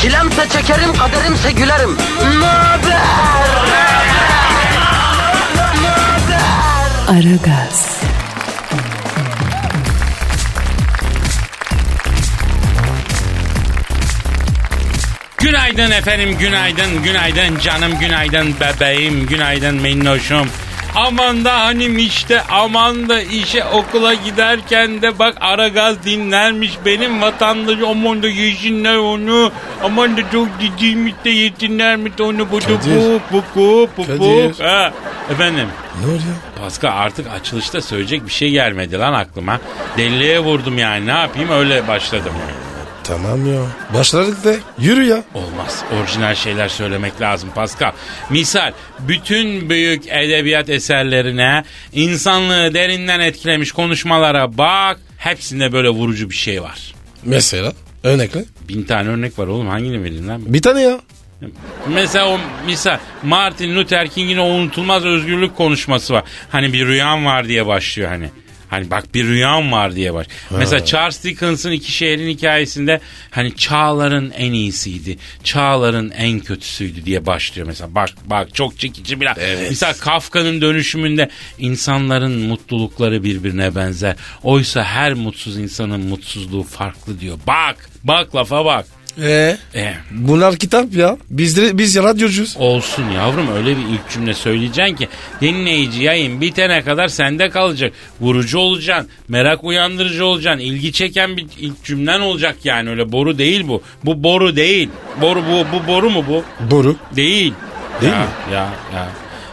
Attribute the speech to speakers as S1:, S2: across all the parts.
S1: Çilemse çekerim, kaderimse gülerim. Möber!
S2: Aragaz,
S3: Günaydın efendim, günaydın, günaydın canım, günaydın bebeğim, günaydın minnoşum. Aman da hanım işte, aman da işe okula giderken de bak Aragaz dinlermiş benim vatandaş aman da yesinler onu. Aman da çok dediğimiz de yesinler mi onu bu bu bu bu bu bu bu.
S4: Kadir.
S3: Ha, Efendim.
S4: Ne oluyor?
S3: Paska artık açılışta söyleyecek bir şey gelmedi lan aklıma. Deliye vurdum yani ne yapayım öyle başladım.
S4: Tamam ya. Başladık de. Yürü ya.
S3: Olmaz. Orijinal şeyler söylemek lazım Pascal. Misal bütün büyük edebiyat eserlerine insanlığı derinden etkilemiş konuşmalara bak. Hepsinde böyle vurucu bir şey var.
S4: Mesela. Örnekle.
S3: Bin tane örnek var oğlum hangini vereyim lan?
S4: Bir tane ya.
S3: Mesela o misal Martin Luther King'in o unutulmaz özgürlük konuşması var. Hani bir rüyam var diye başlıyor hani. Hani bak bir rüyam var diye baş. Mesela Charles Dickens'ın iki şehrin hikayesinde hani çağların en iyisiydi. Çağların en kötüsüydü diye başlıyor mesela. Bak bak çok çekici bir
S4: Evet.
S3: Mesela Kafka'nın dönüşümünde insanların mutlulukları birbirine benzer. Oysa her mutsuz insanın mutsuzluğu farklı diyor. Bak bak lafa bak.
S4: Ee?
S3: Eh.
S4: Bunlar kitap ya. Biz de, biz ya radyocuyuz.
S3: Olsun yavrum öyle bir ilk cümle söyleyeceksin ki dinleyici yayın bitene kadar sende kalacak. Vurucu olacaksın, merak uyandırıcı olacaksın, ilgi çeken bir ilk cümlen olacak yani öyle boru değil bu. Bu boru değil. Boru bu, bu boru mu bu?
S4: Boru.
S3: Değil.
S4: Değil
S3: ya,
S4: mi?
S3: Ya ya.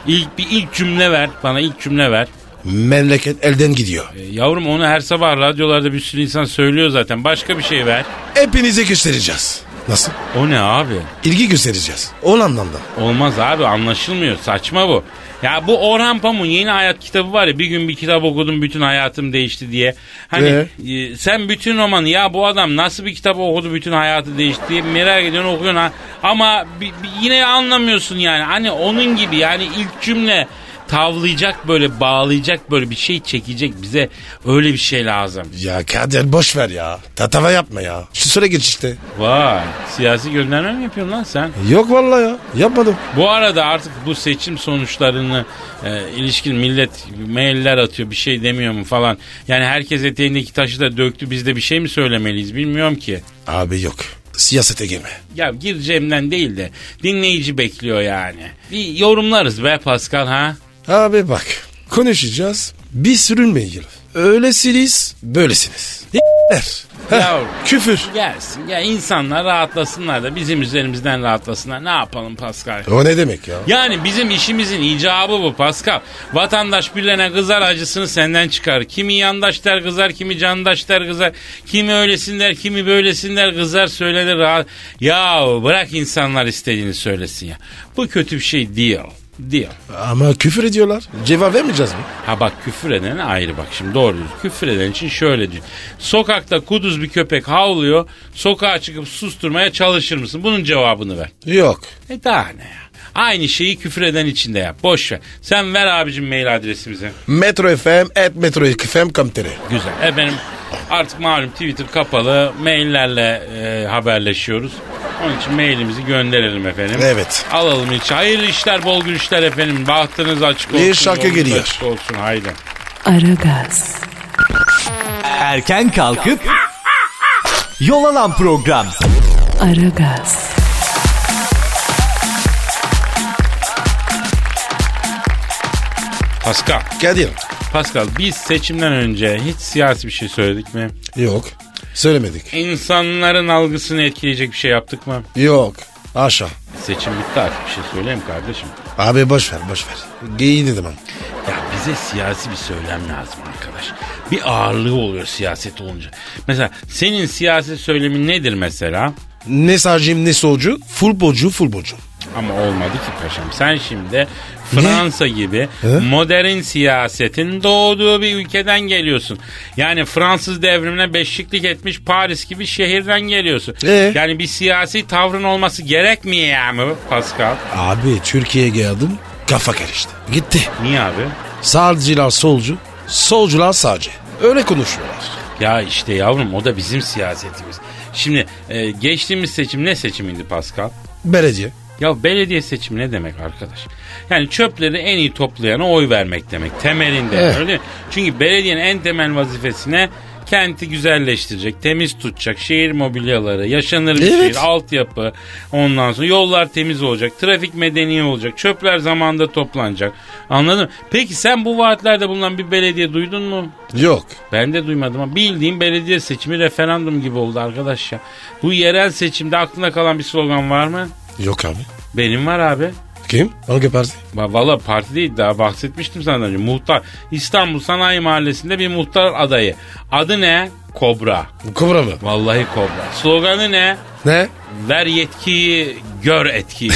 S3: İlk, bir ilk cümle ver bana ilk cümle ver.
S4: Memleket elden gidiyor.
S3: E, Yavrum onu her sabah radyolarda bir sürü insan söylüyor zaten. Başka bir şey ver.
S4: Hepinize göstereceğiz. Nasıl?
S3: O ne abi?
S4: İlgi göstereceğiz. O anlamda.
S3: Olmaz abi anlaşılmıyor saçma bu. Ya bu Orhan Pamuk'un yeni hayat kitabı var ya bir gün bir kitap okudum bütün hayatım değişti diye. Hani e, sen bütün romanı ya bu adam nasıl bir kitap okudu bütün hayatı değişti diye merak ediyorsun okuyorsun ha. Ama bi- bi- yine anlamıyorsun yani hani onun gibi yani ilk cümle tavlayacak böyle bağlayacak böyle bir şey çekecek bize öyle bir şey lazım.
S4: Ya Kadir boş ver ya. Tatava yapma ya. Şu süre geç işte.
S3: Vay siyasi gönderme mi yapıyorsun lan sen?
S4: Yok vallahi ya. Yapmadım.
S3: Bu arada artık bu seçim sonuçlarını e, ilişkin millet mailler atıyor bir şey demiyor mu falan. Yani herkes eteğindeki taşı da döktü biz de bir şey mi söylemeliyiz bilmiyorum ki.
S4: Abi yok. Siyasete girme.
S3: Ya gireceğimden değil de dinleyici bekliyor yani. Bir yorumlarız be Pascal ha.
S4: Abi bak konuşacağız bir sürünmeyin. Öylesiniz böylesiniz. İler.
S3: Ya-
S4: küfür.
S3: Gelsin ya insanlar rahatlasınlar da bizim üzerimizden rahatlasınlar ne yapalım Pascal.
S4: O ne demek ya?
S3: Yani bizim işimizin icabı bu Pascal. Vatandaş birlene kızar acısını senden çıkar. Kimi yandaş der kızar, kimi candaş der kızar. Kimi öylesin der, kimi böylesin der kızar söylenir. rahat. Ya bırak insanlar istediğini söylesin ya. Bu kötü bir şey değil. Değil.
S4: Ama küfür ediyorlar. Cevap vermeyeceğiz mi?
S3: Ha bak küfür eden ayrı bak şimdi doğru diyorsun. Küfür eden için şöyle diyor. Sokakta kuduz bir köpek havlıyor. Sokağa çıkıp susturmaya çalışır mısın? Bunun cevabını ver.
S4: Yok.
S3: E daha ne ya? Aynı şeyi küfür eden için de yap. Boş ver. Sen ver abicim mail adresimizi.
S4: Metro FM et Metro FM kamteri.
S3: Güzel. Efendim artık malum Twitter kapalı. Maillerle e, haberleşiyoruz. Onun için mailimizi gönderelim efendim.
S4: Evet.
S3: Alalım hiç. Hayırlı işler, bol gülüşler efendim. Bahtınız açık olsun.
S4: Bir şarkı
S3: yolunuz
S4: geliyor.
S3: Açık olsun. Haydi.
S2: Aragaz,
S5: Erken kalkıp yol alan program.
S2: Aragaz,
S3: Pascal.
S4: Kadir.
S3: Pascal biz seçimden önce hiç siyasi bir şey söyledik mi?
S4: Yok. Söylemedik.
S3: İnsanların algısını etkileyecek bir şey yaptık mı?
S4: Yok. Aşağı.
S3: Seçim bitti artık bir şey söyleyeyim kardeşim.
S4: Abi boş ver boş ver. Geyin dedim.
S3: Ya bize siyasi bir söylem lazım arkadaş. Bir ağırlığı oluyor siyaset olunca. Mesela senin siyasi söylemin nedir mesela?
S4: Ne sağcıyım ne solcu. Futbolcu futbolcu.
S3: Ama olmadı ki paşam. Sen şimdi Fransa gibi modern siyasetin doğduğu bir ülkeden geliyorsun. Yani Fransız devrimine beşiklik etmiş Paris gibi şehirden geliyorsun.
S4: Ee?
S3: Yani bir siyasi tavrın olması gerekmiyor mu Pascal?
S4: Abi Türkiye'ye geldim kafa karıştı. Gitti.
S3: Niye abi?
S4: Sağcılar solcu, solcular sağcı. Öyle konuşuyorlar.
S3: Ya işte yavrum o da bizim siyasetimiz. Şimdi e, geçtiğimiz seçim ne seçimiydi Pascal?
S4: Belediye.
S3: Ya belediye seçimi ne demek arkadaş? Yani çöpleri en iyi toplayana oy vermek demek temelinde öyle değil mi? Çünkü belediyenin en temel vazifesine kenti güzelleştirecek, temiz tutacak, şehir mobilyaları, yaşanır bir
S4: Evet.
S3: şehir, altyapı, ondan sonra yollar temiz olacak, trafik medeni olacak, çöpler zamanında toplanacak. Anladın mı? Peki sen bu vaatlerde bulunan bir belediye duydun mu?
S4: Yok.
S3: Ben de duymadım ama bildiğim belediye seçimi referandum gibi oldu arkadaş ya. Bu yerel seçimde aklına kalan bir slogan var mı?
S4: Yok abi.
S3: Benim var abi.
S4: Kim? Hangi parti?
S3: Va- Valla parti değil daha bahsetmiştim sana önce. Muhtar. İstanbul Sanayi Mahallesi'nde bir muhtar adayı. Adı ne? Kobra.
S4: Kobra mı?
S3: Vallahi Kobra. Sloganı ne?
S4: Ne?
S3: Ver yetkiyi, gör etkiyi.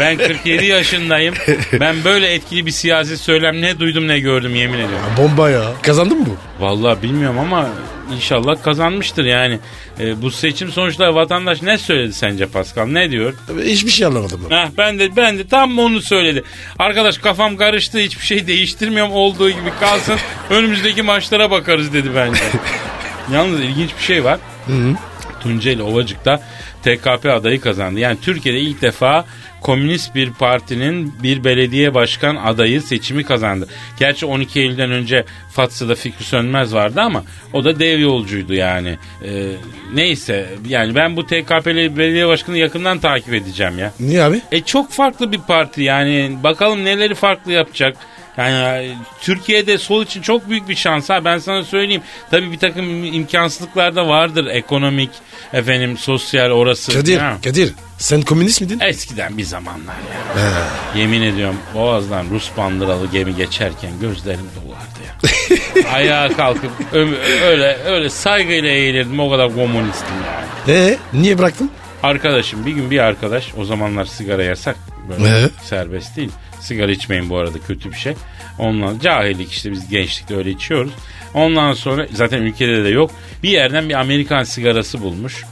S3: ben 47 yaşındayım. Ben böyle etkili bir siyasi söylem ne duydum ne gördüm yemin ediyorum.
S4: Bomba ya. Kazandın mı bu?
S3: Vallahi bilmiyorum ama inşallah kazanmıştır yani. E, bu seçim sonuçları vatandaş ne söyledi sence Pascal? Ne diyor?
S4: Hiçbir şey anlamadım ben.
S3: Heh, ben de ben de tam onu söyledi. Arkadaş kafam karıştı hiçbir şey değiştirmiyorum olduğu gibi kalsın. önümüzdeki maçlara bakarız dedi bence. Yalnız ilginç bir şey var. Tunceli Ovacık'ta TKP adayı kazandı. Yani Türkiye'de ilk defa komünist bir partinin bir belediye başkan adayı seçimi kazandı. Gerçi 12 Eylül'den önce Fatsa'da Fikri Sönmez vardı ama o da dev yolcuydu yani. Ee, neyse yani ben bu TKP'li belediye başkanı yakından takip edeceğim ya.
S4: Niye abi?
S3: E çok farklı bir parti yani. Bakalım neleri farklı yapacak. Yani e, Türkiye'de sol için çok büyük bir şans ha ben sana söyleyeyim. Tabii bir takım im- imkansızlıklar da vardır. Ekonomik, efendim sosyal orası.
S4: Kadir,
S3: Ha.
S4: Kadir. Sen komünist
S3: E?
S4: miydin?
S3: Eskiden bir zamanlar ya. Yemin ediyorum boğazdan Rus bandıralı gemi geçerken gözlerim dolardı ya. Ayağa kalkıp ö- öyle öyle saygıyla eğilirdim o kadar komünistim yani.
S4: Ee, niye bıraktın?
S3: Arkadaşım bir gün bir arkadaş o zamanlar sigara yasak böyle
S4: Ee?
S3: serbest değil. Sigara içmeyin bu arada kötü bir şey. Ondan cahillik işte biz gençlikte öyle içiyoruz. Ondan sonra zaten ülkede de yok. Bir yerden bir Amerikan sigarası bulmuş.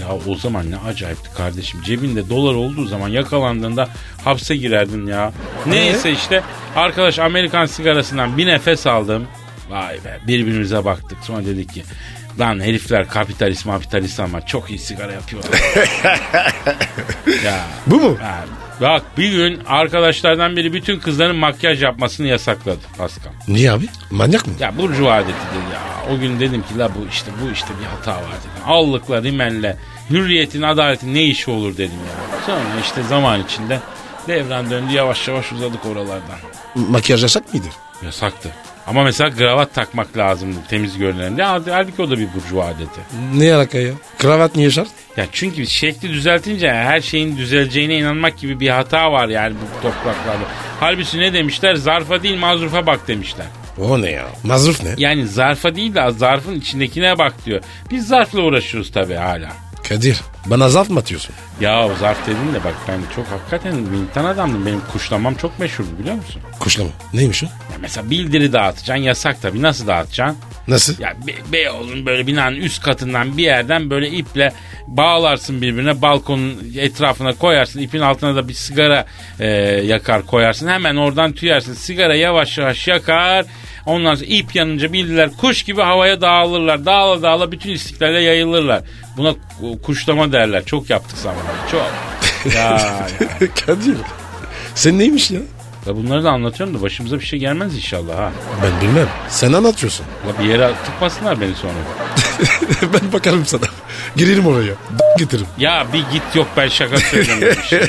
S3: Ya o zaman ne acayipti kardeşim. Cebinde dolar olduğu zaman yakalandığında hapse girerdin ya. Neyse işte arkadaş Amerikan sigarasından bir nefes aldım. Vay be birbirimize baktık. Sonra dedik ki lan herifler kapitalist mapitalist ama çok iyi sigara yapıyorlar. ya
S4: Bu mu?
S3: ha, Bak bir gün arkadaşlardan biri bütün kızların makyaj yapmasını yasakladı Pascal.
S4: Niye abi? Manyak mı?
S3: Ya burcu adeti dedi ya. O gün dedim ki la bu işte bu işte bir hata var dedim. Allıkla rimenle hürriyetin adaletin ne işi olur dedim ya. Sonra işte zaman içinde devran döndü yavaş yavaş uzadık oralardan.
S4: Makyaj yasak mıydı?
S3: Yasaktı. Ama mesela gravat takmak lazımdı temiz görünen. de. Hal- Halbuki o da bir burcu adeti.
S4: Ne alaka ya? Kravat niye şart?
S3: Ya çünkü şekli düzeltince her şeyin düzeleceğine inanmak gibi bir hata var yani bu topraklarda. Halbuki ne demişler? Zarfa değil mazrufa bak demişler.
S4: O ne ya? Mazruf ne?
S3: Yani zarfa değil de zarfın içindekine bak diyor. Biz zarfla uğraşıyoruz tabii hala.
S4: Kadir, bana zarf mı atıyorsun?
S3: Ya zarf dedin de bak ben çok hakikaten militan adamdım. Benim kuşlamam çok meşhurdu biliyor musun?
S4: Kuşlama. Neymiş o?
S3: Ya mesela bildiri dağıtacaksın yasak tabii. Nasıl dağıtacaksın?
S4: Nasıl?
S3: Ya Be- Beyoğlu'nun böyle binanın üst katından bir yerden böyle iple bağlarsın birbirine balkonun etrafına koyarsın. İpin altına da bir sigara e, yakar koyarsın. Hemen oradan tüyersin. Sigara yavaş yavaş yakar. Ondan sonra ip yanınca bildiler kuş gibi havaya dağılırlar. Dağla dağla bütün istiklale yayılırlar. Buna ku- kuşlama derler. Çok yaptık zamanında. Çok. ya, ya.
S4: Kadir, sen neymiş ya?
S3: Ya bunları da anlatıyorum da başımıza bir şey gelmez inşallah ha.
S4: Ben bilmem. Sen anlatıyorsun.
S3: Ya bir yere tıkmasınlar beni sonra.
S4: ben bakarım sana. Girerim oraya. D- getiririm.
S3: Ya bir git yok ben şaka söylemiyorum. işte.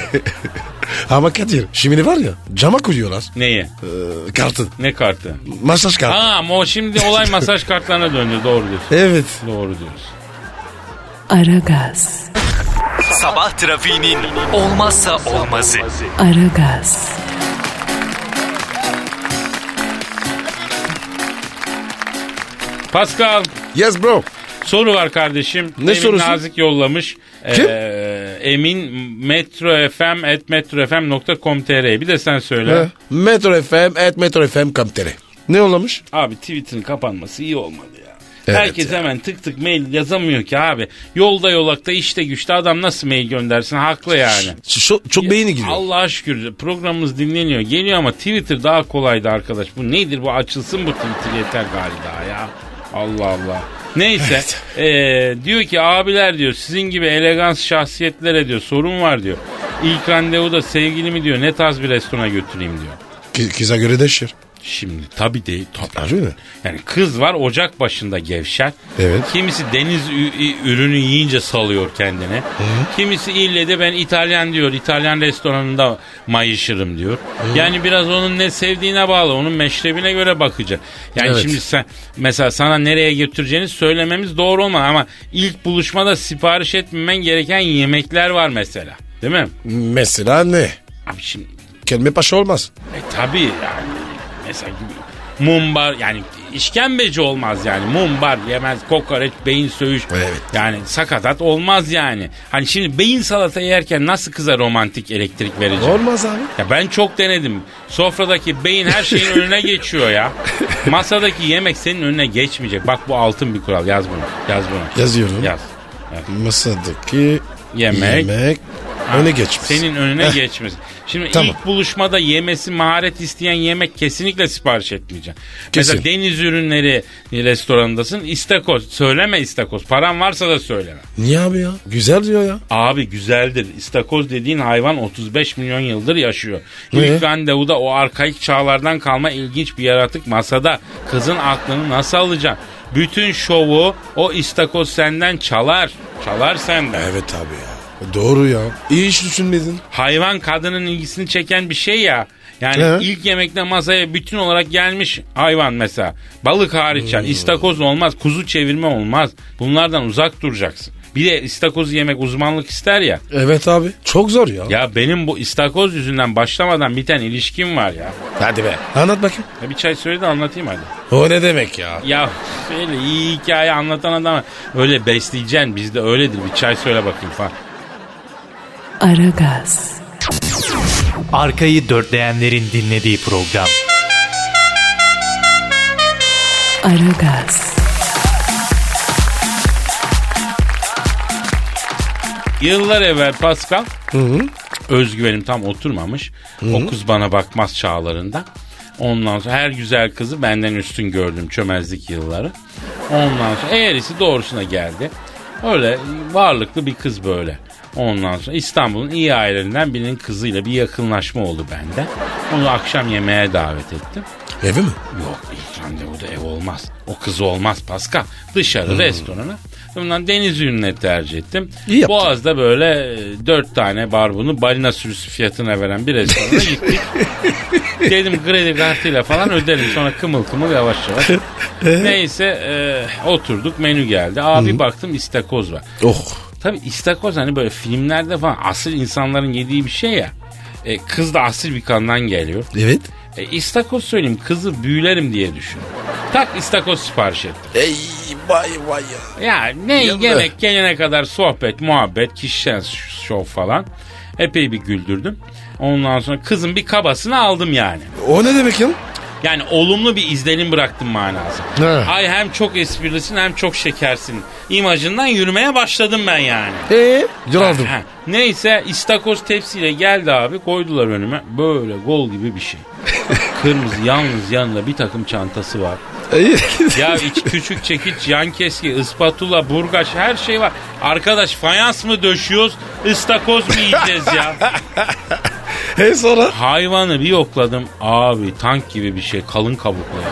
S4: Ama Kadir, şimdi var ya cama koyuyorlar.
S3: Neyi?
S4: Ee, kartı.
S3: Ne kartı?
S4: Masaj kartı.
S3: Aa o şimdi olay masaj kartlarına döndü. Doğru diyorsun.
S4: Evet.
S3: Doğru diyorsun.
S2: Aragaz,
S5: Sabah trafiğinin olmazsa olmazı.
S2: Aragaz,
S3: Pascal
S4: Yes bro.
S3: soru var kardeşim.
S4: Ne sorusu?
S3: Nazik yollamış.
S4: Kim?
S3: Ee, emin metrofm at metrofm.com.tr bir de sen söyle.
S4: He. Ee? Metro FM et Metro FM kamteri. Ne olamış?
S3: Abi tweetin kapanması iyi olmadı ya.
S4: Evet
S3: Herkes hemen tık tık mail yazamıyor ki abi. Yolda yolakta işte güçte adam nasıl mail göndersin haklı yani.
S4: Şu- şu- çok beyni giriyor.
S3: Allah'a şükür programımız dinleniyor geliyor ama Twitter daha kolaydı arkadaş. Bu nedir bu açılsın bu Twitter yeter galiba ya. Allah Allah. Neyse eee, diyor ki abiler diyor sizin gibi elegans şahsiyetlere diyor sorun var diyor. İlk randevuda sevgilimi diyor ne tarz bir restorana götüreyim diyor.
S4: Ki- Kıza göre değişir.
S3: Şimdi tabii değil. Tabii.
S4: Harbi mi?
S3: Yani kız var ocak başında gevşer.
S4: Evet.
S3: Kimisi deniz ü- ü- ürünü yiyince salıyor kendini. Kimisi ille de ben İtalyan diyor. İtalyan restoranında mayışırım diyor. Yani biraz onun ne sevdiğine bağlı. Onun meşrebine göre bakacak. Yani
S4: Evet.
S3: şimdi sen mesela sana nereye götüreceğini söylememiz doğru olmaz ama ilk buluşmada sipariş etmemen gereken yemekler var mesela. Değil mi?
S4: Mesela ne?
S3: Abi şimdi
S4: Kelime paşa olmaz.
S3: e tabii yani. Mesela gibi- mumbar yani işkembeci olmaz yani. Mumbar yemez, kokoreç, beyin söğüş.
S4: Evet.
S3: Yani sakatat olmaz yani. Hani şimdi beyin salata yerken nasıl kıza romantik elektrik vereceğim?
S4: Olmaz abi.
S3: Ya ben çok denedim. Sofradaki beyin her şeyin önüne geçiyor ya. Masadaki yemek senin önüne geçmeyecek. Bak bu altın bir kural. Yaz bunu. Yaz bunu.
S4: Yazıyorum.
S3: Yaz.
S4: Masadaki
S3: Yemek.
S4: yemek öne geçmiş.
S3: Senin önüne
S4: Heh.
S3: geçmez. Şimdi
S4: Eh. Tamam.
S3: ilk buluşmada yemesi maharet isteyen yemek kesinlikle sipariş etmeyeceksin.
S4: Kesin.
S3: Mesela deniz ürünleri restoranındasın. İstakoz. Söyleme istakoz. Paran varsa da söyleme.
S4: Niye abi ya? Güzel diyor ya.
S3: Abi güzeldir. İstakoz dediğin hayvan 35 milyon yıldır yaşıyor. İlk
S4: Ee?
S3: randevuda o arkaik çağlardan kalma ilginç bir yaratık masada. Kızın aklını nasıl alacaksın? Bütün şovu o istakoz senden çalar. Çalar senden.
S4: Evet abi ya. Doğru ya. İyi iş düşünmedin.
S3: hayvan kadının ilgisini çeken bir şey ya. Yani
S4: He.
S3: ilk yemekte masaya bütün olarak gelmiş hayvan mesela. Balık hariç yani istakoz olmaz, kuzu çevirme olmaz. Bunlardan uzak duracaksın. Bir de istakoz yemek uzmanlık ister ya.
S4: Evet abi. Çok zor ya.
S3: Ya benim bu istakoz yüzünden başlamadan biten ilişkim var ya.
S4: Hadi be. Anlat bakayım.
S3: Ya bir çay söyle de anlatayım hadi.
S4: O ne demek ya?
S3: Ya öyle iyi hikaye anlatan adam öyle besleyeceksin bizde öyledir bir çay söyle bakayım falan.
S2: Aragaz,
S5: Arkayı dörtleyenlerin dinlediği program.
S2: Aragaz,
S3: Yıllar evvel Pascal özgüvenim tam oturmamış. O kız bana bakmaz çağlarında. Ondan sonra her güzel kızı benden üstün gördüm çömezlik yılları. Ondan sonra eğrisi doğrusuna geldi. Öyle varlıklı bir kız böyle. Ondan sonra İstanbul'un iyi ailelerinden birinin kızıyla bir yakınlaşma oldu bende. Onu akşam yemeğe davet ettim.
S4: Evi mi?
S3: Yok ilk randevuda ev olmaz. O kız olmaz Pascal. Dışarı restorana. Bundan deniz ürünleri tercih ettim.
S4: Hmm. İyi yaptın.
S3: Boğaz'da böyle e, dört tane barbunu balina sürüsü fiyatına veren bir restorana gittik. Dedim kredi kartıyla falan öderim. Sonra kımıl kımıl yavaş yavaş. Neyse e, oturduk menü geldi. Abi baktım istakoz var.
S4: Oh.
S3: Tabii istakoz hani böyle filmlerde falan asil insanların yediği bir şey ya. E, kız da asil bir kandan geliyor.
S4: Evet.
S3: E, istakoz söyleyeyim kızı büyülerim diye düşün. Tak istakoz sipariş ettim.
S4: Ey vay vay ya.
S3: Ya ne
S4: Yandı.
S3: yemek gelene kadar sohbet, muhabbet, kişisel ş- şov falan. Epey bir güldürdüm. Ondan sonra kızın bir kabasını aldım yani.
S4: O ne demek ya?
S3: Yani olumlu bir izlenim bıraktım manası.
S4: He.
S3: Ay hem çok esprilisin hem çok şekersin. İmajından yürümeye başladım ben yani.
S4: Eee? Yoraldım.
S3: Ha, Neyse istakoz tepsiyle geldi abi koydular önüme. Böyle gol gibi bir şey. Kırmızı yalnız yanında bir takım çantası var.
S4: İyi.
S3: Ya iç küçük çekiç, yan keski, ıspatula, burgaç her şey var. Arkadaş fayans mı döşüyoruz, ıstakoz mu yiyeceğiz ya?
S4: e sonra?
S3: Hayvanı bir yokladım. Abi tank gibi bir şey kalın kabuklu. ya.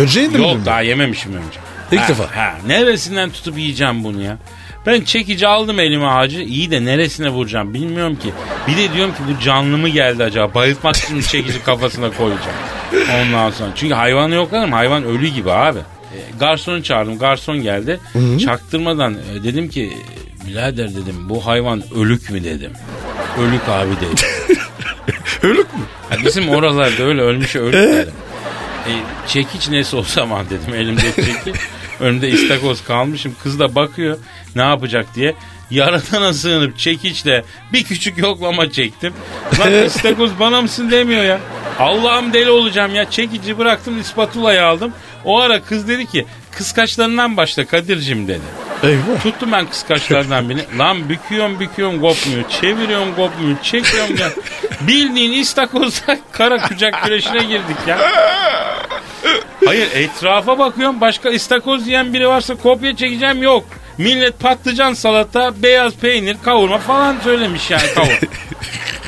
S4: Önce indim
S3: Yok daha yememişim önce.
S4: İlk
S3: Ha,
S4: defa.
S3: Ha, neresinden tutup yiyeceğim bunu ya? Ben çekici aldım elime ağacı. iyi de neresine vuracağım bilmiyorum ki. Bir de diyorum ki bu canlı mı geldi acaba? Bayıltmak için çekici kafasına koyacağım. Ondan sonra. Çünkü hayvanı yokladım. Hayvan ölü gibi abi. E, garsonu çağırdım. Garson geldi. Çaktırmadan e, dedim ki birader dedim bu hayvan ölük mü dedim. Ölük abi dedi.
S4: Ölük mü?
S3: Ya bizim oralarda öyle ölmüş ölük dedim. E, çekiç nesi o zaman dedim elimde çekiç. Önümde istakoz kalmışım. Kız da bakıyor ne yapacak diye. Yaratana sığınıp çekiçle bir küçük yoklama çektim. Lan istakoz bana mısın demiyor ya. Allah'ım deli olacağım ya. Çekici bıraktım ispatulayı aldım. O ara kız dedi ki kıskaçlarından başla Kadir'cim dedi.
S4: Eyvah.
S3: Tuttum ben kıskaçlardan birini. Lan büküyorum büküyorum kopmuyor. Çeviriyorum kopmuyor. Çekiyorum ya. Bildiğin istakozda kara kucak güreşine girdik ya. Hayır etrafa bakıyorum başka istakoz yiyen biri varsa kopya çekeceğim yok. Millet patlıcan salata, beyaz peynir, kavurma falan söylemiş yani kavur.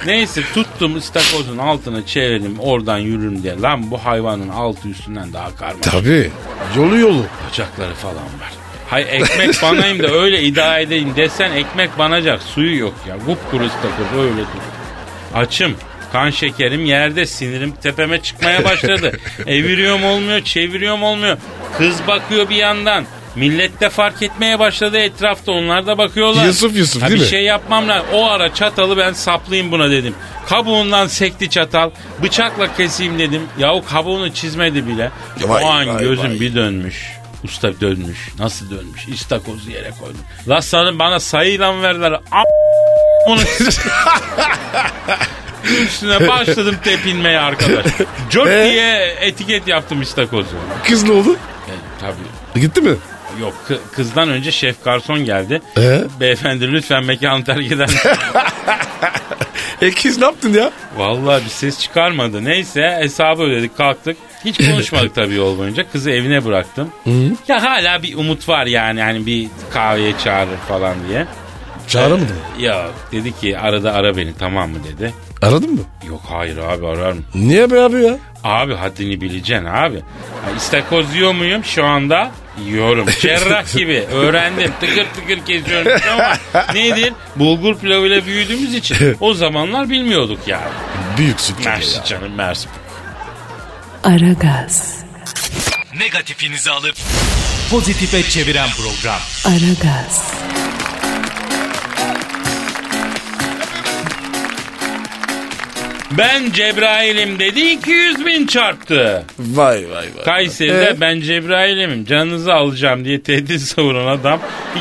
S3: Neyse tuttum istakozun altına çevirdim oradan yürürüm diye. Lan bu hayvanın altı üstünden daha karma
S4: Tabii. Yolu yolu.
S3: bacakları falan var. Hay ekmek banayım da öyle idare edeyim desen ekmek banacak suyu yok ya. Kupkuru istakoz öyle dur. Açım. Kan şekerim yerde sinirim tepeme çıkmaya başladı. Eviriyorum olmuyor çeviriyorum olmuyor. Kız bakıyor bir yandan. Millet de fark etmeye başladı etrafta onlar da bakıyorlar.
S4: Yusuf Yusuf
S3: Ha,
S4: değil
S3: bir
S4: mi?
S3: şey yapmam lazım. O ara çatalı ben saplayayım buna dedim. Kabuğundan sekti çatal. Bıçakla keseyim dedim. Yahu kabuğunu çizmedi bile.
S4: Vay,
S3: o an
S4: vay,
S3: gözüm
S4: vay.
S3: bir dönmüş. Usta dönmüş. Nasıl dönmüş? İstakozu yere koydum. Lastanın bana sayıyla mı verdiler. A- onu üstüne başladım tepinmeye arkadaş. Cök
S4: Ee?
S3: diye etiket yaptım istakozu.
S4: Kız ne oldu?
S3: E, tabii.
S4: Gitti mi?
S3: Yok kı- kızdan önce şef garson geldi.
S4: Ee?
S3: Beyefendi lütfen mekanı terk eder misiniz?
S4: E kız ne yaptın ya?
S3: Vallahi bir ses çıkarmadı. Neyse hesabı ödedik kalktık. Hiç konuşmadık tabii yol boyunca. Kızı evine bıraktım. Ya hala bir umut var yani. Hani bir kahveye çağırır falan diye.
S4: Çağıramadım.
S3: Ya dedi ki arada ara beni tamam mı dedi.
S4: Aradın mı?
S3: Yok hayır abi arar mı?
S4: Niye be abi ya?
S3: Abi haddini bileceksin abi. Ha, İstakoz yiyor muyum şu anda? Yiyorum. Cerrah gibi. Öğrendim. Tıkır tıkır kesiyorum. Ama nedir? Bulgur pilavıyla büyüdüğümüz için o zamanlar bilmiyorduk yani.
S4: Büyüksün çünkü
S3: Mersi
S4: ya.
S3: canım mersi.
S2: Aragaz,
S5: Negatifinizi alıp pozitife çeviren program.
S2: Aragaz,
S3: Ben Cebrail'im dedi 200 bin çarptı.
S4: Vay vay vay.
S3: Kayseri'de
S4: Ee?
S3: ben Cebrail'imim canınızı alacağım diye tehdit savuran adam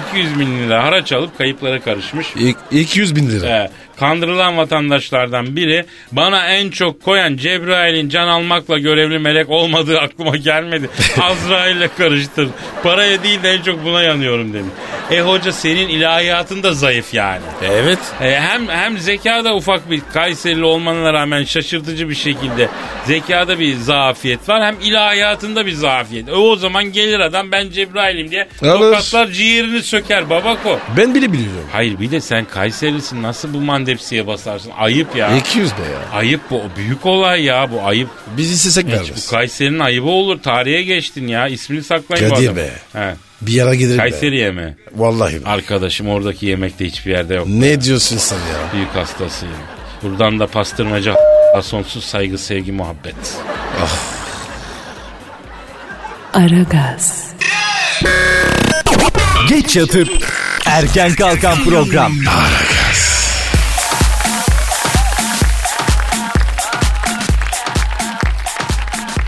S3: 200 bin lira haraç alıp kayıplara karışmış.
S4: İ- 200 bin lira.
S3: Ee, kandırılan vatandaşlardan biri bana en çok koyan Cebrail'in can almakla görevli melek olmadığı aklıma gelmedi. Azrail'le karıştır. Paraya değil de en çok buna yanıyorum demiş. E hoca senin ilahiyatın da zayıf yani.
S4: Evet.
S3: E, hem hem zekada ufak bir Kayserili olmanına rağmen şaşırtıcı bir şekilde zekada bir zafiyet var. Hem ilahiyatında bir zafiyet. E, o zaman gelir adam ben Cebrail'im diye
S4: Alır.
S3: tokatlar ciğerini söker babako.
S4: Ben bile biliyorum.
S3: Hayır bir de sen Kayseri'lisin nasıl bu mandepsiye basarsın? Ayıp ya.
S4: 200 be ya.
S3: Ayıp bu büyük olay ya bu ayıp.
S4: Biz istesek
S3: Bu
S4: vermez.
S3: Kayseri'nin ayıbı olur. Tarihe geçtin ya. İsmini saklayın bu
S4: Kadir
S3: adamın.
S4: be.
S3: He.
S4: Bir yere gidelim be.
S3: Kayseri'ye mi?
S4: Vallahi. be.
S3: Arkadaşım oradaki yemekte hiçbir yerde yok.
S4: Ne diyorsun sen ya?
S3: Büyük hastasıyım. Buradan da pastırmacı sonsuz saygı, sevgi, muhabbet.
S2: Aragaz,
S5: Geç yatıp erken kalkan program.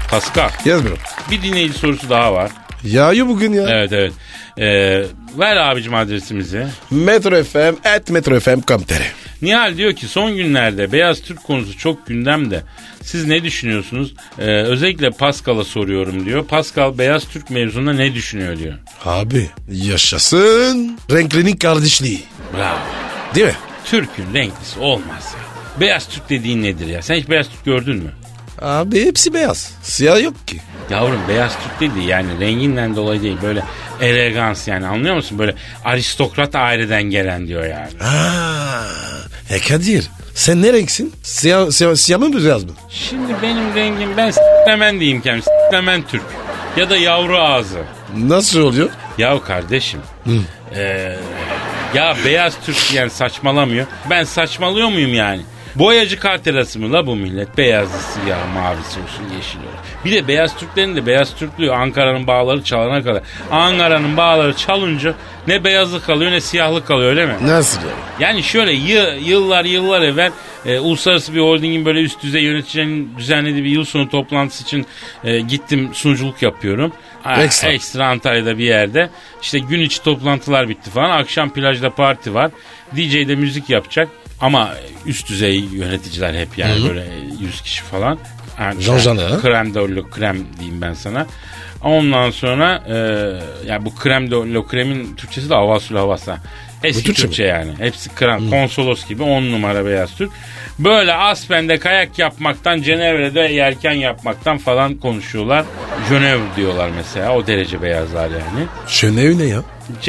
S3: Pascal,
S4: Yazmıyorum.
S3: bir dinleyici sorusu daha var.
S4: Yağıyor bugün ya.
S3: Evet evet. Ee, ver abicim adresimizi.
S4: Metro FM at Metro FM Kamtere.
S3: Nihal diyor ki son günlerde Beyaz Türk konusu çok gündemde. Siz ne düşünüyorsunuz? Ee, özellikle Pascal'a soruyorum diyor. Pascal Beyaz Türk mevzunda ne düşünüyor diyor.
S4: Abi yaşasın renklinin kardeşliği.
S3: Bravo.
S4: Değil mi?
S3: Türk'ün renklisi olmaz ya. Beyaz Türk dediğin nedir ya? Sen hiç Beyaz Türk gördün mü?
S4: Abi hepsi beyaz. Siyah yok ki.
S3: Yavrum beyaz Türk dedi yani renginden dolayı değil böyle elegans yani anlıyor musun? Böyle aristokrat aileden gelen diyor yani.
S4: Aa, e Kadir sen ne renksin? Siyah, siyah, siyah mı beyaz mı?
S3: Şimdi benim rengim ben s**lemen diyeyim kendim s**lemen Türk ya da yavru ağzı.
S4: Nasıl oluyor?
S3: Yahu kardeşim ee, ya beyaz Türk diyen saçmalamıyor ben saçmalıyor muyum yani? Boyacı kartelası mı la bu millet? Beyazlısı ya mavisi olsun yeşil olsun. Bir de beyaz Türklerin de beyaz Türklüğü Ankara'nın bağları çalana kadar. Ankara'nın bağları çalınca ne beyazlık kalıyor ne siyahlık kalıyor öyle mi?
S4: Nasıl yani?
S3: Yani şöyle yı- yıllar yıllar evvel e, uluslararası bir holdingin böyle üst düzey yöneticilerinin düzenlediği bir yıl sonu toplantısı için e, gittim sunuculuk yapıyorum. Ha,
S4: Ekstra.
S3: ekstra Antalya'da bir yerde. İşte gün içi toplantılar bitti falan. Akşam plajda parti var. DJ'de müzik yapacak. Ama üst düzey yöneticiler hep yani böyle 100 kişi falan. Yani
S4: Jean Jean'ı, ha?
S3: Krem de lo krem diyeyim ben sana. Ondan sonra e, ya bu krem de lo kremin Türkçesi de havasül havasa. Eski
S4: Bu Türkçe
S3: Türkçe,
S4: mi? Hmm.
S3: yani. Hepsi kran, konsolos gibi on numara beyaz Türk. Böyle Aspen'de kayak yapmaktan, Cenevre'de yelken yapmaktan falan konuşuyorlar. Cenevre diyorlar mesela. O derece beyazlar yani.
S4: Şönev ne ya?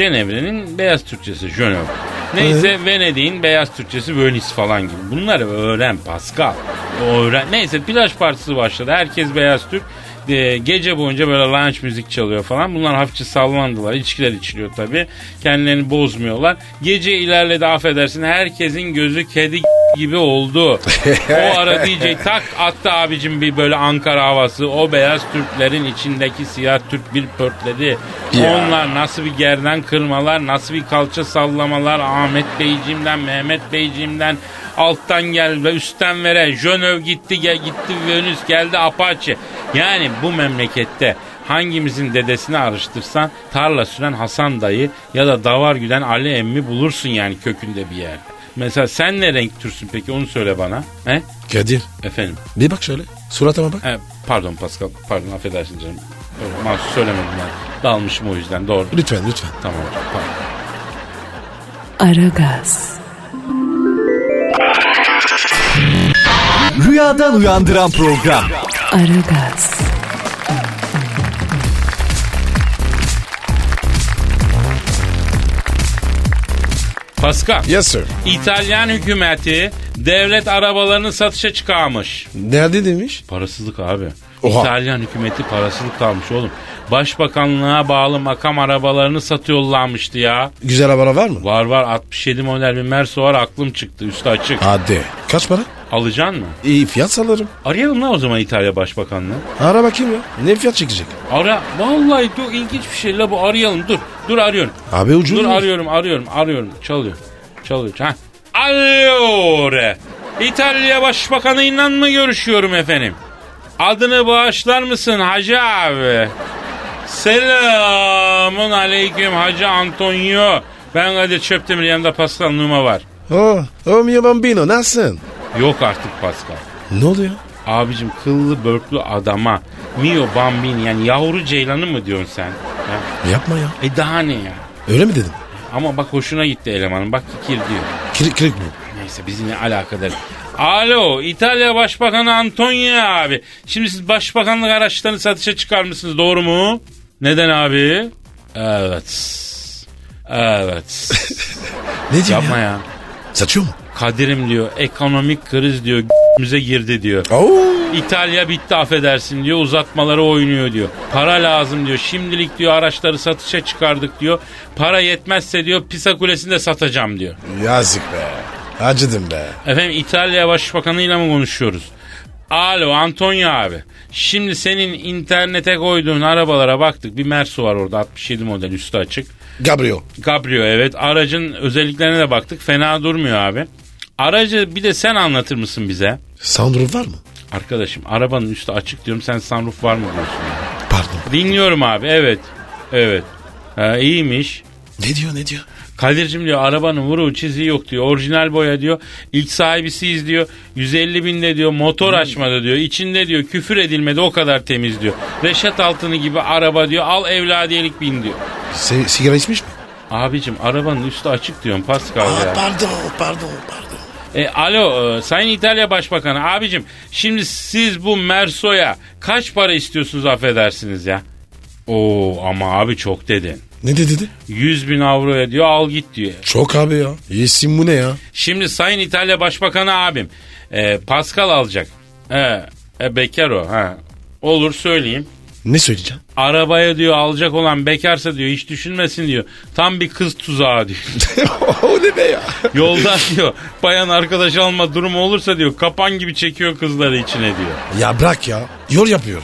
S3: Cenevre'nin beyaz Türkçesi Cenevre. Neyse Venedik'in beyaz Türkçesi Venice falan gibi. Bunları öğren Pascal. Öğren. Neyse plaj partisi başladı. Herkes beyaz Türk. Ee, gece boyunca böyle lounge müzik çalıyor falan. Bunlar hafifçe sallandılar. İçkiler içiliyor tabii. Kendilerini bozmuyorlar. Gece ilerledi affedersin. Herkesin gözü kedi gibi oldu. o ara DJ tak attı abicim bir böyle Ankara havası. O beyaz Türklerin içindeki siyah Türk bir pörtledi. Onlar nasıl bir gerden kırmalar, nasıl bir kalça sallamalar. Ahmet Beyciğimden, Mehmet Beyciğimden alttan gel ve üstten vere. Jönöv gitti, gel, gitti Venüs geldi Apache. Yani bu memlekette hangimizin dedesini araştırsan tarla süren Hasan dayı ya da davar güden Ali emmi bulursun yani kökünde bir yerde. Mesela sen ne renk türsün peki onu söyle bana. He?
S4: Kadir
S3: Efendim.
S4: bir bak şöyle. Suratıma bak.
S3: He, E, pardon Pascal. Pardon affedersin canım. Öyle Mahsus söylemedim ben. Dalmışım o yüzden doğru.
S4: Lütfen lütfen.
S3: Tamam. Pardon.
S2: Aragaz,
S5: Rüyadan uyandıran program.
S2: Aragaz,
S3: Pascal.
S4: Yes sir.
S3: İtalyan hükümeti devlet arabalarını satışa çıkarmış.
S4: Nerede demiş?
S3: Parasızlık abi.
S4: Oha.
S3: İtalyan hükümeti parasızlık kalmış oğlum. Başbakanlığa bağlı makam arabalarını satıyorlarmıştı ya.
S4: Güzel araba var mı?
S3: Var var 67 model bir Merso var aklım çıktı üstü açık.
S4: Hadi. Kaç para?
S3: Alacaksın mı?
S4: İyi fiyat salarım.
S3: Arayalım lan o zaman İtalya Başbakanlığı.
S4: Ara bakayım ya. Ne fiyat çekecek?
S3: Ara. Vallahi çok ilginç bir şey la bu arayalım dur. Dur arıyorum.
S4: Abi ucuz
S3: Dur
S4: mu?
S3: arıyorum arıyorum arıyorum. Çalıyor. Çalıyor. Ha. Allora. İtalya Başbakanı inan mı görüşüyorum efendim? Adını bağışlar mısın hacı abi? Selamun aleyküm hacı Antonio. Ben Kadir Çöptemir yanında Pascal Numa var.
S4: Oh, oh mio bambino nasılsın?
S3: Yok artık Pascal.
S4: Ne oluyor?
S3: Abicim kıllı börklü adama Mio Bambini yani yavru ceylanı mı diyorsun sen? Ha?
S4: Yapma ya.
S3: E daha ne ya?
S4: Öyle mi dedim?
S3: Ama bak hoşuna gitti elemanın. Bak kikir diyor.
S4: Kırık kırık mı?
S3: Neyse bizi ne alakadar. Alo İtalya Başbakanı Antonio abi. Şimdi siz başbakanlık araçlarını satışa çıkarmışsınız doğru mu? Neden abi? Evet. Evet.
S4: Ne diyor
S3: Yapma ya.
S4: Satıyor mu?
S3: Kadir'im diyor ekonomik kriz diyor müze girdi diyor.
S4: Oo.
S3: İtalya bitti affedersin diyor uzatmaları oynuyor diyor. Para lazım diyor şimdilik diyor araçları satışa çıkardık diyor. Para yetmezse diyor Pisa Kulesi'ni de satacağım diyor.
S4: Yazık be. Acıdım be.
S3: Efendim İtalya Başbakanı'yla mı konuşuyoruz? Alo Antonio abi. Şimdi senin internete koyduğun arabalara baktık. Bir Mersu var orada 67 model üstü açık.
S4: Gabriel.
S3: Cabrio evet. Aracın özelliklerine de baktık. Fena durmuyor abi. Aracı bir de sen anlatır mısın bize?
S4: Soundroof var mı?
S3: Arkadaşım arabanın üstü açık diyorum sen sunroof var mı diyorsun. ya.
S4: Pardon.
S3: Dinliyorum abi evet. Evet. Ha, iyiymiş.
S4: Ne diyor ne diyor?
S3: Kadir'cim diyor arabanın vuruğu çiziği yok diyor. Orijinal boya diyor. İlk sahibisiyiz diyor. 150 binde diyor motor açmadı diyor. İçinde diyor küfür edilmedi o kadar temiz diyor. Reşat altını gibi araba diyor. Al evladiyelik bin diyor.
S4: Se- sigara içmiş mi?
S3: Abicim arabanın üstü açık diyorum Pascal ya.
S4: pardon pardon pardon.
S3: E, alo e, Sayın İtalya Başbakanı abicim şimdi siz bu Merso'ya kaç para istiyorsunuz affedersiniz ya? Oo ama abi çok dedin.
S4: Ne dedi dedi?
S3: 100 bin avroya diyor al git diyor.
S4: Çok abi ya. Yesin bu ne ya?
S3: Şimdi Sayın İtalya Başbakanı abim e, Pascal alacak. E, e, bekar o. Ha. Olur söyleyeyim.
S4: Ne söyleyeceğim?
S3: Arabaya diyor alacak olan bekarsa diyor hiç düşünmesin diyor. Tam bir kız tuzağı diyor.
S4: o ne be ya?
S3: Yolda diyor bayan arkadaş alma durumu olursa diyor kapan gibi çekiyor kızları içine diyor.
S4: Ya bırak ya. Yol yapıyor.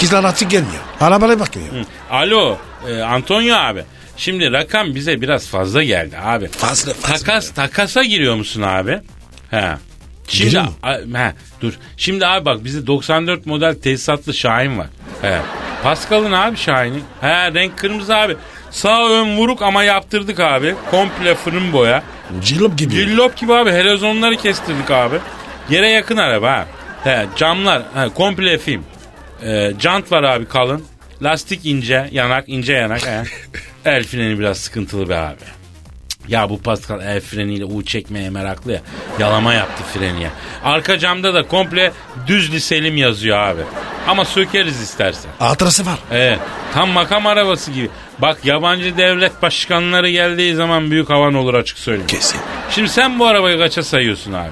S4: Kızlar artık gelmiyor. Arabaya bakmıyor.
S3: Alo e, Antonio abi. Şimdi rakam bize biraz fazla geldi abi.
S4: Fazla fazla.
S3: Takas takasa giriyor musun abi? He. Şimdi
S4: Giriyor mu?
S3: a- he, dur. Şimdi abi bak bizde 94 model tesisatlı Şahin var. He. Pascal'ın abi Şahin'i. He renk kırmızı abi. Sağ ön vuruk ama yaptırdık abi. Komple fırın boya.
S4: Cillop gibi.
S3: Cillop gibi abi helezonları kestirdik abi. Yere yakın araba ha. He, camlar he, komple film. Ee, jant var abi kalın. Lastik ince yanak ince yanak. He. El freni biraz sıkıntılı be abi. Cık, Ya bu Pascal el freniyle U çekmeye meraklı ya. Yalama yaptı freni ya. Arka camda da komple düzli Selim yazıyor abi. Ama sökeriz istersen.
S4: Hatırası var.
S3: Evet. Tam makam arabası gibi. Bak yabancı devlet başkanları geldiği zaman büyük havan olur açık söyleyeyim.
S4: Kesin.
S3: Şimdi sen bu arabayı kaça sayıyorsun abi?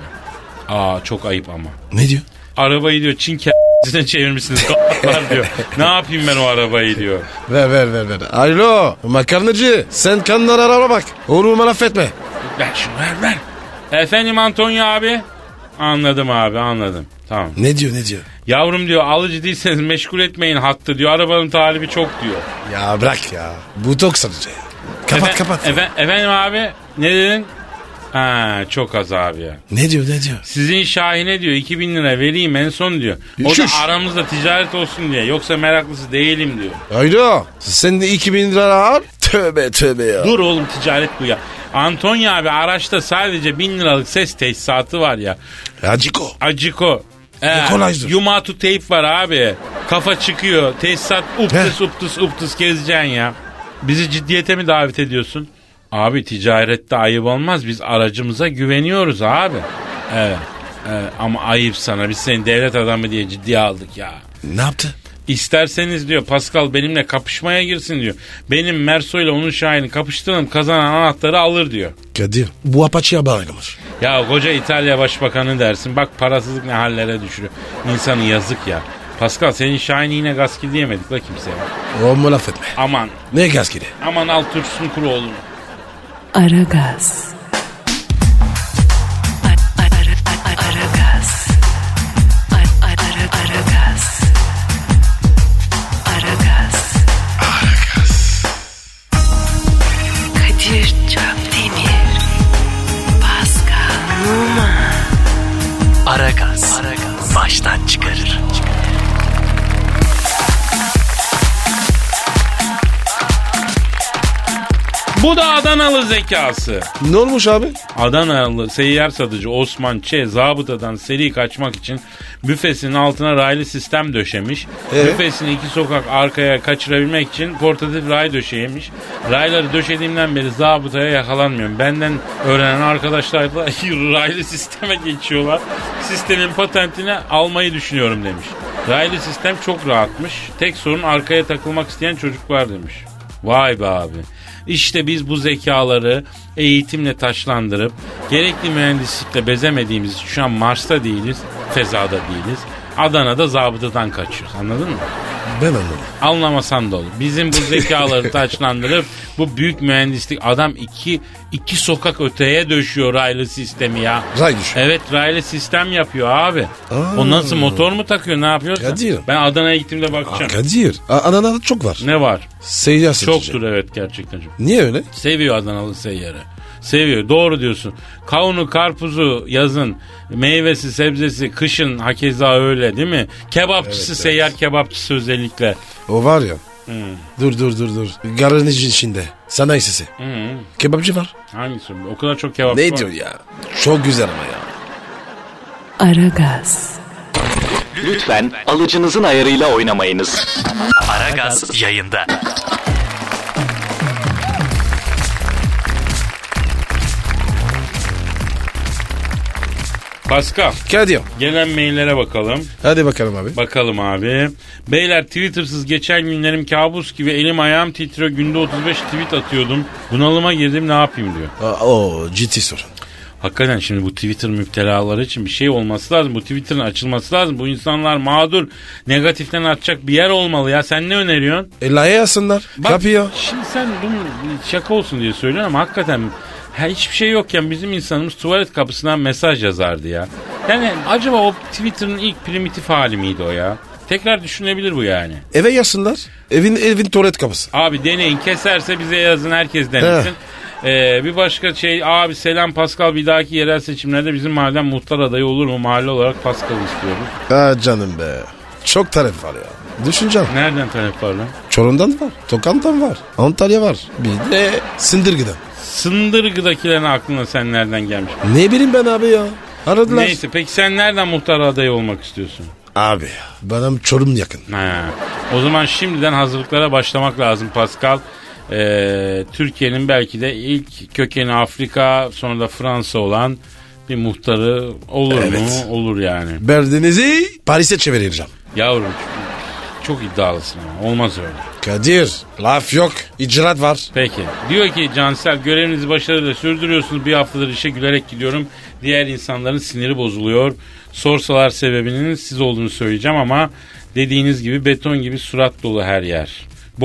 S3: Aa çok ayıp ama.
S4: Ne diyor?
S3: Arabayı diyor Çin k***sine çevirmişsiniz k***lar diyor. Ne yapayım ben o arabayı diyor.
S4: Ver ver ver ver. Alo makarnacı sen kanlara araba bak. Oğlumu affetme.
S3: Ver şunu ver ver. Efendim Antonio abi? Anladım abi anladım. Tamam.
S4: Ne diyor ne diyor?
S3: Yavrum diyor alıcı değilseniz meşgul etmeyin hattı diyor. Arabanın talibi çok diyor.
S4: Ya bırak ya. Botoks sadece. Kapat
S3: Efe-
S4: kapat.
S3: efe- efendim abi ne dedin? Ha çok az abi ya.
S4: Ne diyor ne diyor?
S3: Sizin Şahin'e diyor 2000 lira vereyim en son diyor. O da
S4: Şuş.
S3: aramızda ticaret olsun diye. Yoksa meraklısı değilim diyor.
S4: Alo sen de 2000 lira al. Tövbe tövbe ya.
S3: Dur oğlum ticaret bu ya. Antonya abi araçta sadece 1000 liralık ses tesisatı var ya.
S4: Aciko.
S3: Aciko. Ee,
S4: Kolaydır.
S3: Yumatu tape var abi. Kafa çıkıyor. Tesisat uptus uptus uptus gezeceksin ya. Bizi ciddiyete mi davet ediyorsun? Abi ticarette ayıp olmaz. Biz aracımıza güveniyoruz abi. Evet. evet. ama ayıp sana. Biz seni devlet adamı diye ciddiye aldık ya.
S4: Ne yaptı?
S3: İsterseniz diyor Pascal benimle kapışmaya girsin diyor. Benim Merso ile onun Şahin'i kapıştıralım kazanan anahtarı alır diyor.
S4: Kadir bu apaçıya bağlamış.
S3: Ya koca İtalya başbakanı dersin bak parasızlık ne hallere düşürüyor. İnsanı yazık ya. Pascal senin Şahin'i yine gaskil diyemedik la kimseye.
S4: Oğlumu laf etme.
S3: Aman
S4: Ne gaz gidi?
S3: aman al tursun kuru oğlum.
S2: Aragaz. Aragaz. Aragaz. Aragaz. Kadir Çöpdemir. Pascal Numa.
S6: Aragaz. Baştan çıkarır.
S3: Bu da Adanalı zekası.
S4: Ne olmuş abi?
S3: Adanalı seyyar satıcı Osman Ç. zabıtadan seri kaçmak için büfesinin altına raylı sistem döşemiş.
S4: Ee?
S3: Büfesini iki sokak arkaya kaçırabilmek için portatif ray döşeyemiş. Rayları döşediğimden beri zabıtaya yakalanmıyorum. Benden öğrenen arkadaşlar da raylı sisteme geçiyorlar. Sistemin patentini almayı düşünüyorum demiş. Raylı sistem çok rahatmış. Tek sorun arkaya takılmak isteyen çocuklar demiş. Vay be abi. İşte biz bu zekaları eğitimle taşlandırıp gerekli mühendislikle bezemediğimiz için şu an Mars'ta değiliz, fezada değiliz. Adana'da zabıtadan kaçıyoruz anladın mı?
S4: Ben anladım.
S3: Anlamasan da olur. Bizim bu zekaları taçlandırıp bu büyük mühendislik adam iki, iki sokak öteye döşüyor raylı sistemi ya.
S4: Ray düşüyor.
S3: Evet raylı sistem yapıyor abi. O nasıl motor mu takıyor ne yapıyorsun?
S4: Kadir.
S3: Ben Adana'ya gittiğimde bakacağım.
S4: Aa, Kadir. A- Ananada çok var.
S3: Ne var?
S4: Seyyar satıcı.
S3: Çoktur evet gerçekten. çok.
S4: Niye öyle?
S3: Seviyor Adanalı seyyarı. Seviyor. Doğru diyorsun. Kavunu, karpuzu yazın, meyvesi, sebzesi kışın hakeza öyle değil mi? Kebapçısı, seyyar kebapçısı özellikle.
S4: O var ya. Dur dur dur dur. Garajın içinde. Sanayi sesi. Hmm. Kebapçı var.
S3: Hangisi? O kadar çok kebap var.
S4: Ne diyor ya? Çok güzel ama ya.
S2: Aragaz.
S5: Lütfen alıcınızın ayarıyla oynamayınız.
S6: Aragaz yayında.
S3: Pascal,
S4: Kadir.
S3: gelen maillere bakalım.
S4: Hadi bakalım abi.
S3: Bakalım abi. Beyler Twitter'sız geçen günlerim kabus gibi elim ayağım titriyor. Günde 35 tweet atıyordum. Bunalıma girdim ne yapayım diyor.
S4: Aa, o ciddi sorun.
S3: Hakikaten şimdi bu Twitter müptelaları için bir şey olması lazım. Bu Twitter'ın açılması lazım. Bu insanlar mağdur. Negatiften atacak bir yer olmalı ya. Sen ne öneriyorsun?
S4: E layığı yazsınlar.
S3: Bak,
S4: Yapıyor.
S3: Şimdi sen bunu şaka olsun diye söylüyorsun ama hakikaten ha, hiçbir şey yokken bizim insanımız tuvalet kapısından mesaj yazardı ya. Yani acaba o Twitter'ın ilk primitif hali miydi o ya? Tekrar düşünebilir bu yani.
S4: Eve yazsınlar. Evin evin tuvalet kapısı.
S3: Abi deneyin keserse bize yazın herkes denesin. Ee, bir başka şey abi selam Pascal bir dahaki yerel seçimlerde bizim mahallen muhtar adayı olur mu? Mahalle olarak Pascal istiyoruz.
S4: Ha canım be. Çok tarif var ya. Düşüneceğim.
S3: Nereden talep var lan?
S4: Çorum'dan var. Tokant'tan var. Antalya var. Bir de Sindirgi'den.
S3: Sındırgıdakilerin aklına sen nereden gelmiş?
S4: Ne bileyim ben abi ya. Aradılar.
S3: Neyse peki sen nereden muhtar adayı olmak istiyorsun?
S4: Abi ya. Bana Çorum yakın.
S3: Ha. O zaman şimdiden hazırlıklara başlamak lazım Pascal. Ee, Türkiye'nin belki de ilk kökeni Afrika sonra da Fransa olan bir muhtarı olur
S4: Evet.
S3: mu? Olur yani.
S4: Berdinizi Paris'e çevireceğim.
S3: Yavrum çok iddialısın ama olmaz öyle.
S4: Kadir laf yok. İcraat var.
S3: Peki. Diyor ki Cansel görevinizi başarıyla sürdürüyorsunuz. Bir haftadır işe gülerek gidiyorum. Diğer insanların siniri bozuluyor. Sorsalar sebebinin siz olduğunu söyleyeceğim ama dediğiniz gibi beton gibi surat dolu her yer.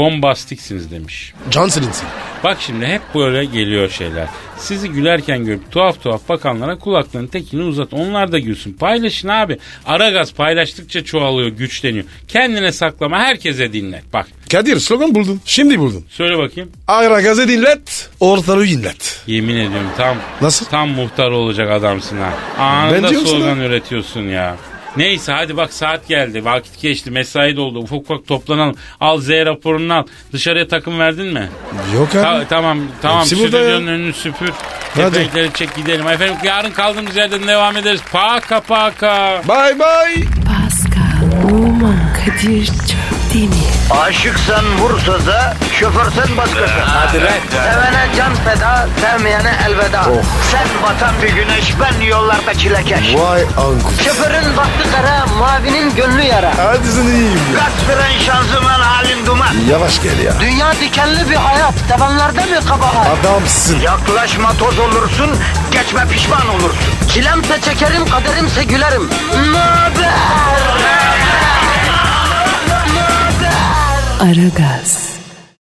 S3: Bombastiksiniz demiş.
S4: Johnson'ınsin.
S3: Bak şimdi hep böyle geliyor şeyler. Sizi gülerken görüp tuhaf tuhaf bakanlara kulaklarının tekini uzat. Onlar da gülsün. Paylaşın abi. Ara gaz paylaştıkça çoğalıyor, güçleniyor. Kendine saklama, herkese dinlet. Bak
S4: Kadir slogan buldun. Şimdi buldun.
S3: söyle bakayım.
S4: Ayra gazı dinlet. Ortalığı inlet.
S3: Yemin ediyorum tam
S4: Nasıl?
S3: tam muhtar olacak adamsın ha. Anında
S4: Ben diyorum
S3: slogan
S4: sana.
S3: üretiyorsun ya. Neyse hadi bak saat geldi. Vakit geçti. Mesai doldu. Ufak ufak toplanalım. Al Z raporunu al. Dışarıya takım verdin mi?
S4: Yok abi.
S3: Ta- tamam tamam
S4: Hepsi burada
S3: stüdyonun önünü süpür.
S4: Hadi.
S3: Kepenkleri çek gidelim. Efendim yarın kaldığımız yerden devam ederiz. Paka paka.
S4: Bye bye.
S2: Pascal, Oman, Kadir çok değil mi?
S1: Aşıksan vursa da, şoförsen başkasın. Hadi Sevene can feda, sevmeyene elveda. Sen batan bir güneş, ben yollarda çilekeş.
S4: Vay anku.
S1: Şoförün baktı kara, mavinin gönlü yara.
S4: Hadi sen iyiyim ya.
S1: Kasperen şanzıman halin duman.
S4: Yavaş gel ya.
S1: Dünya dikenli bir hayat, sevenlerde mi kabahar?
S4: Adamsın.
S1: Yaklaşma toz olursun, geçme pişman olursun. Çilemse çekerim, kaderimse gülerim. Möber!
S2: Aragaz.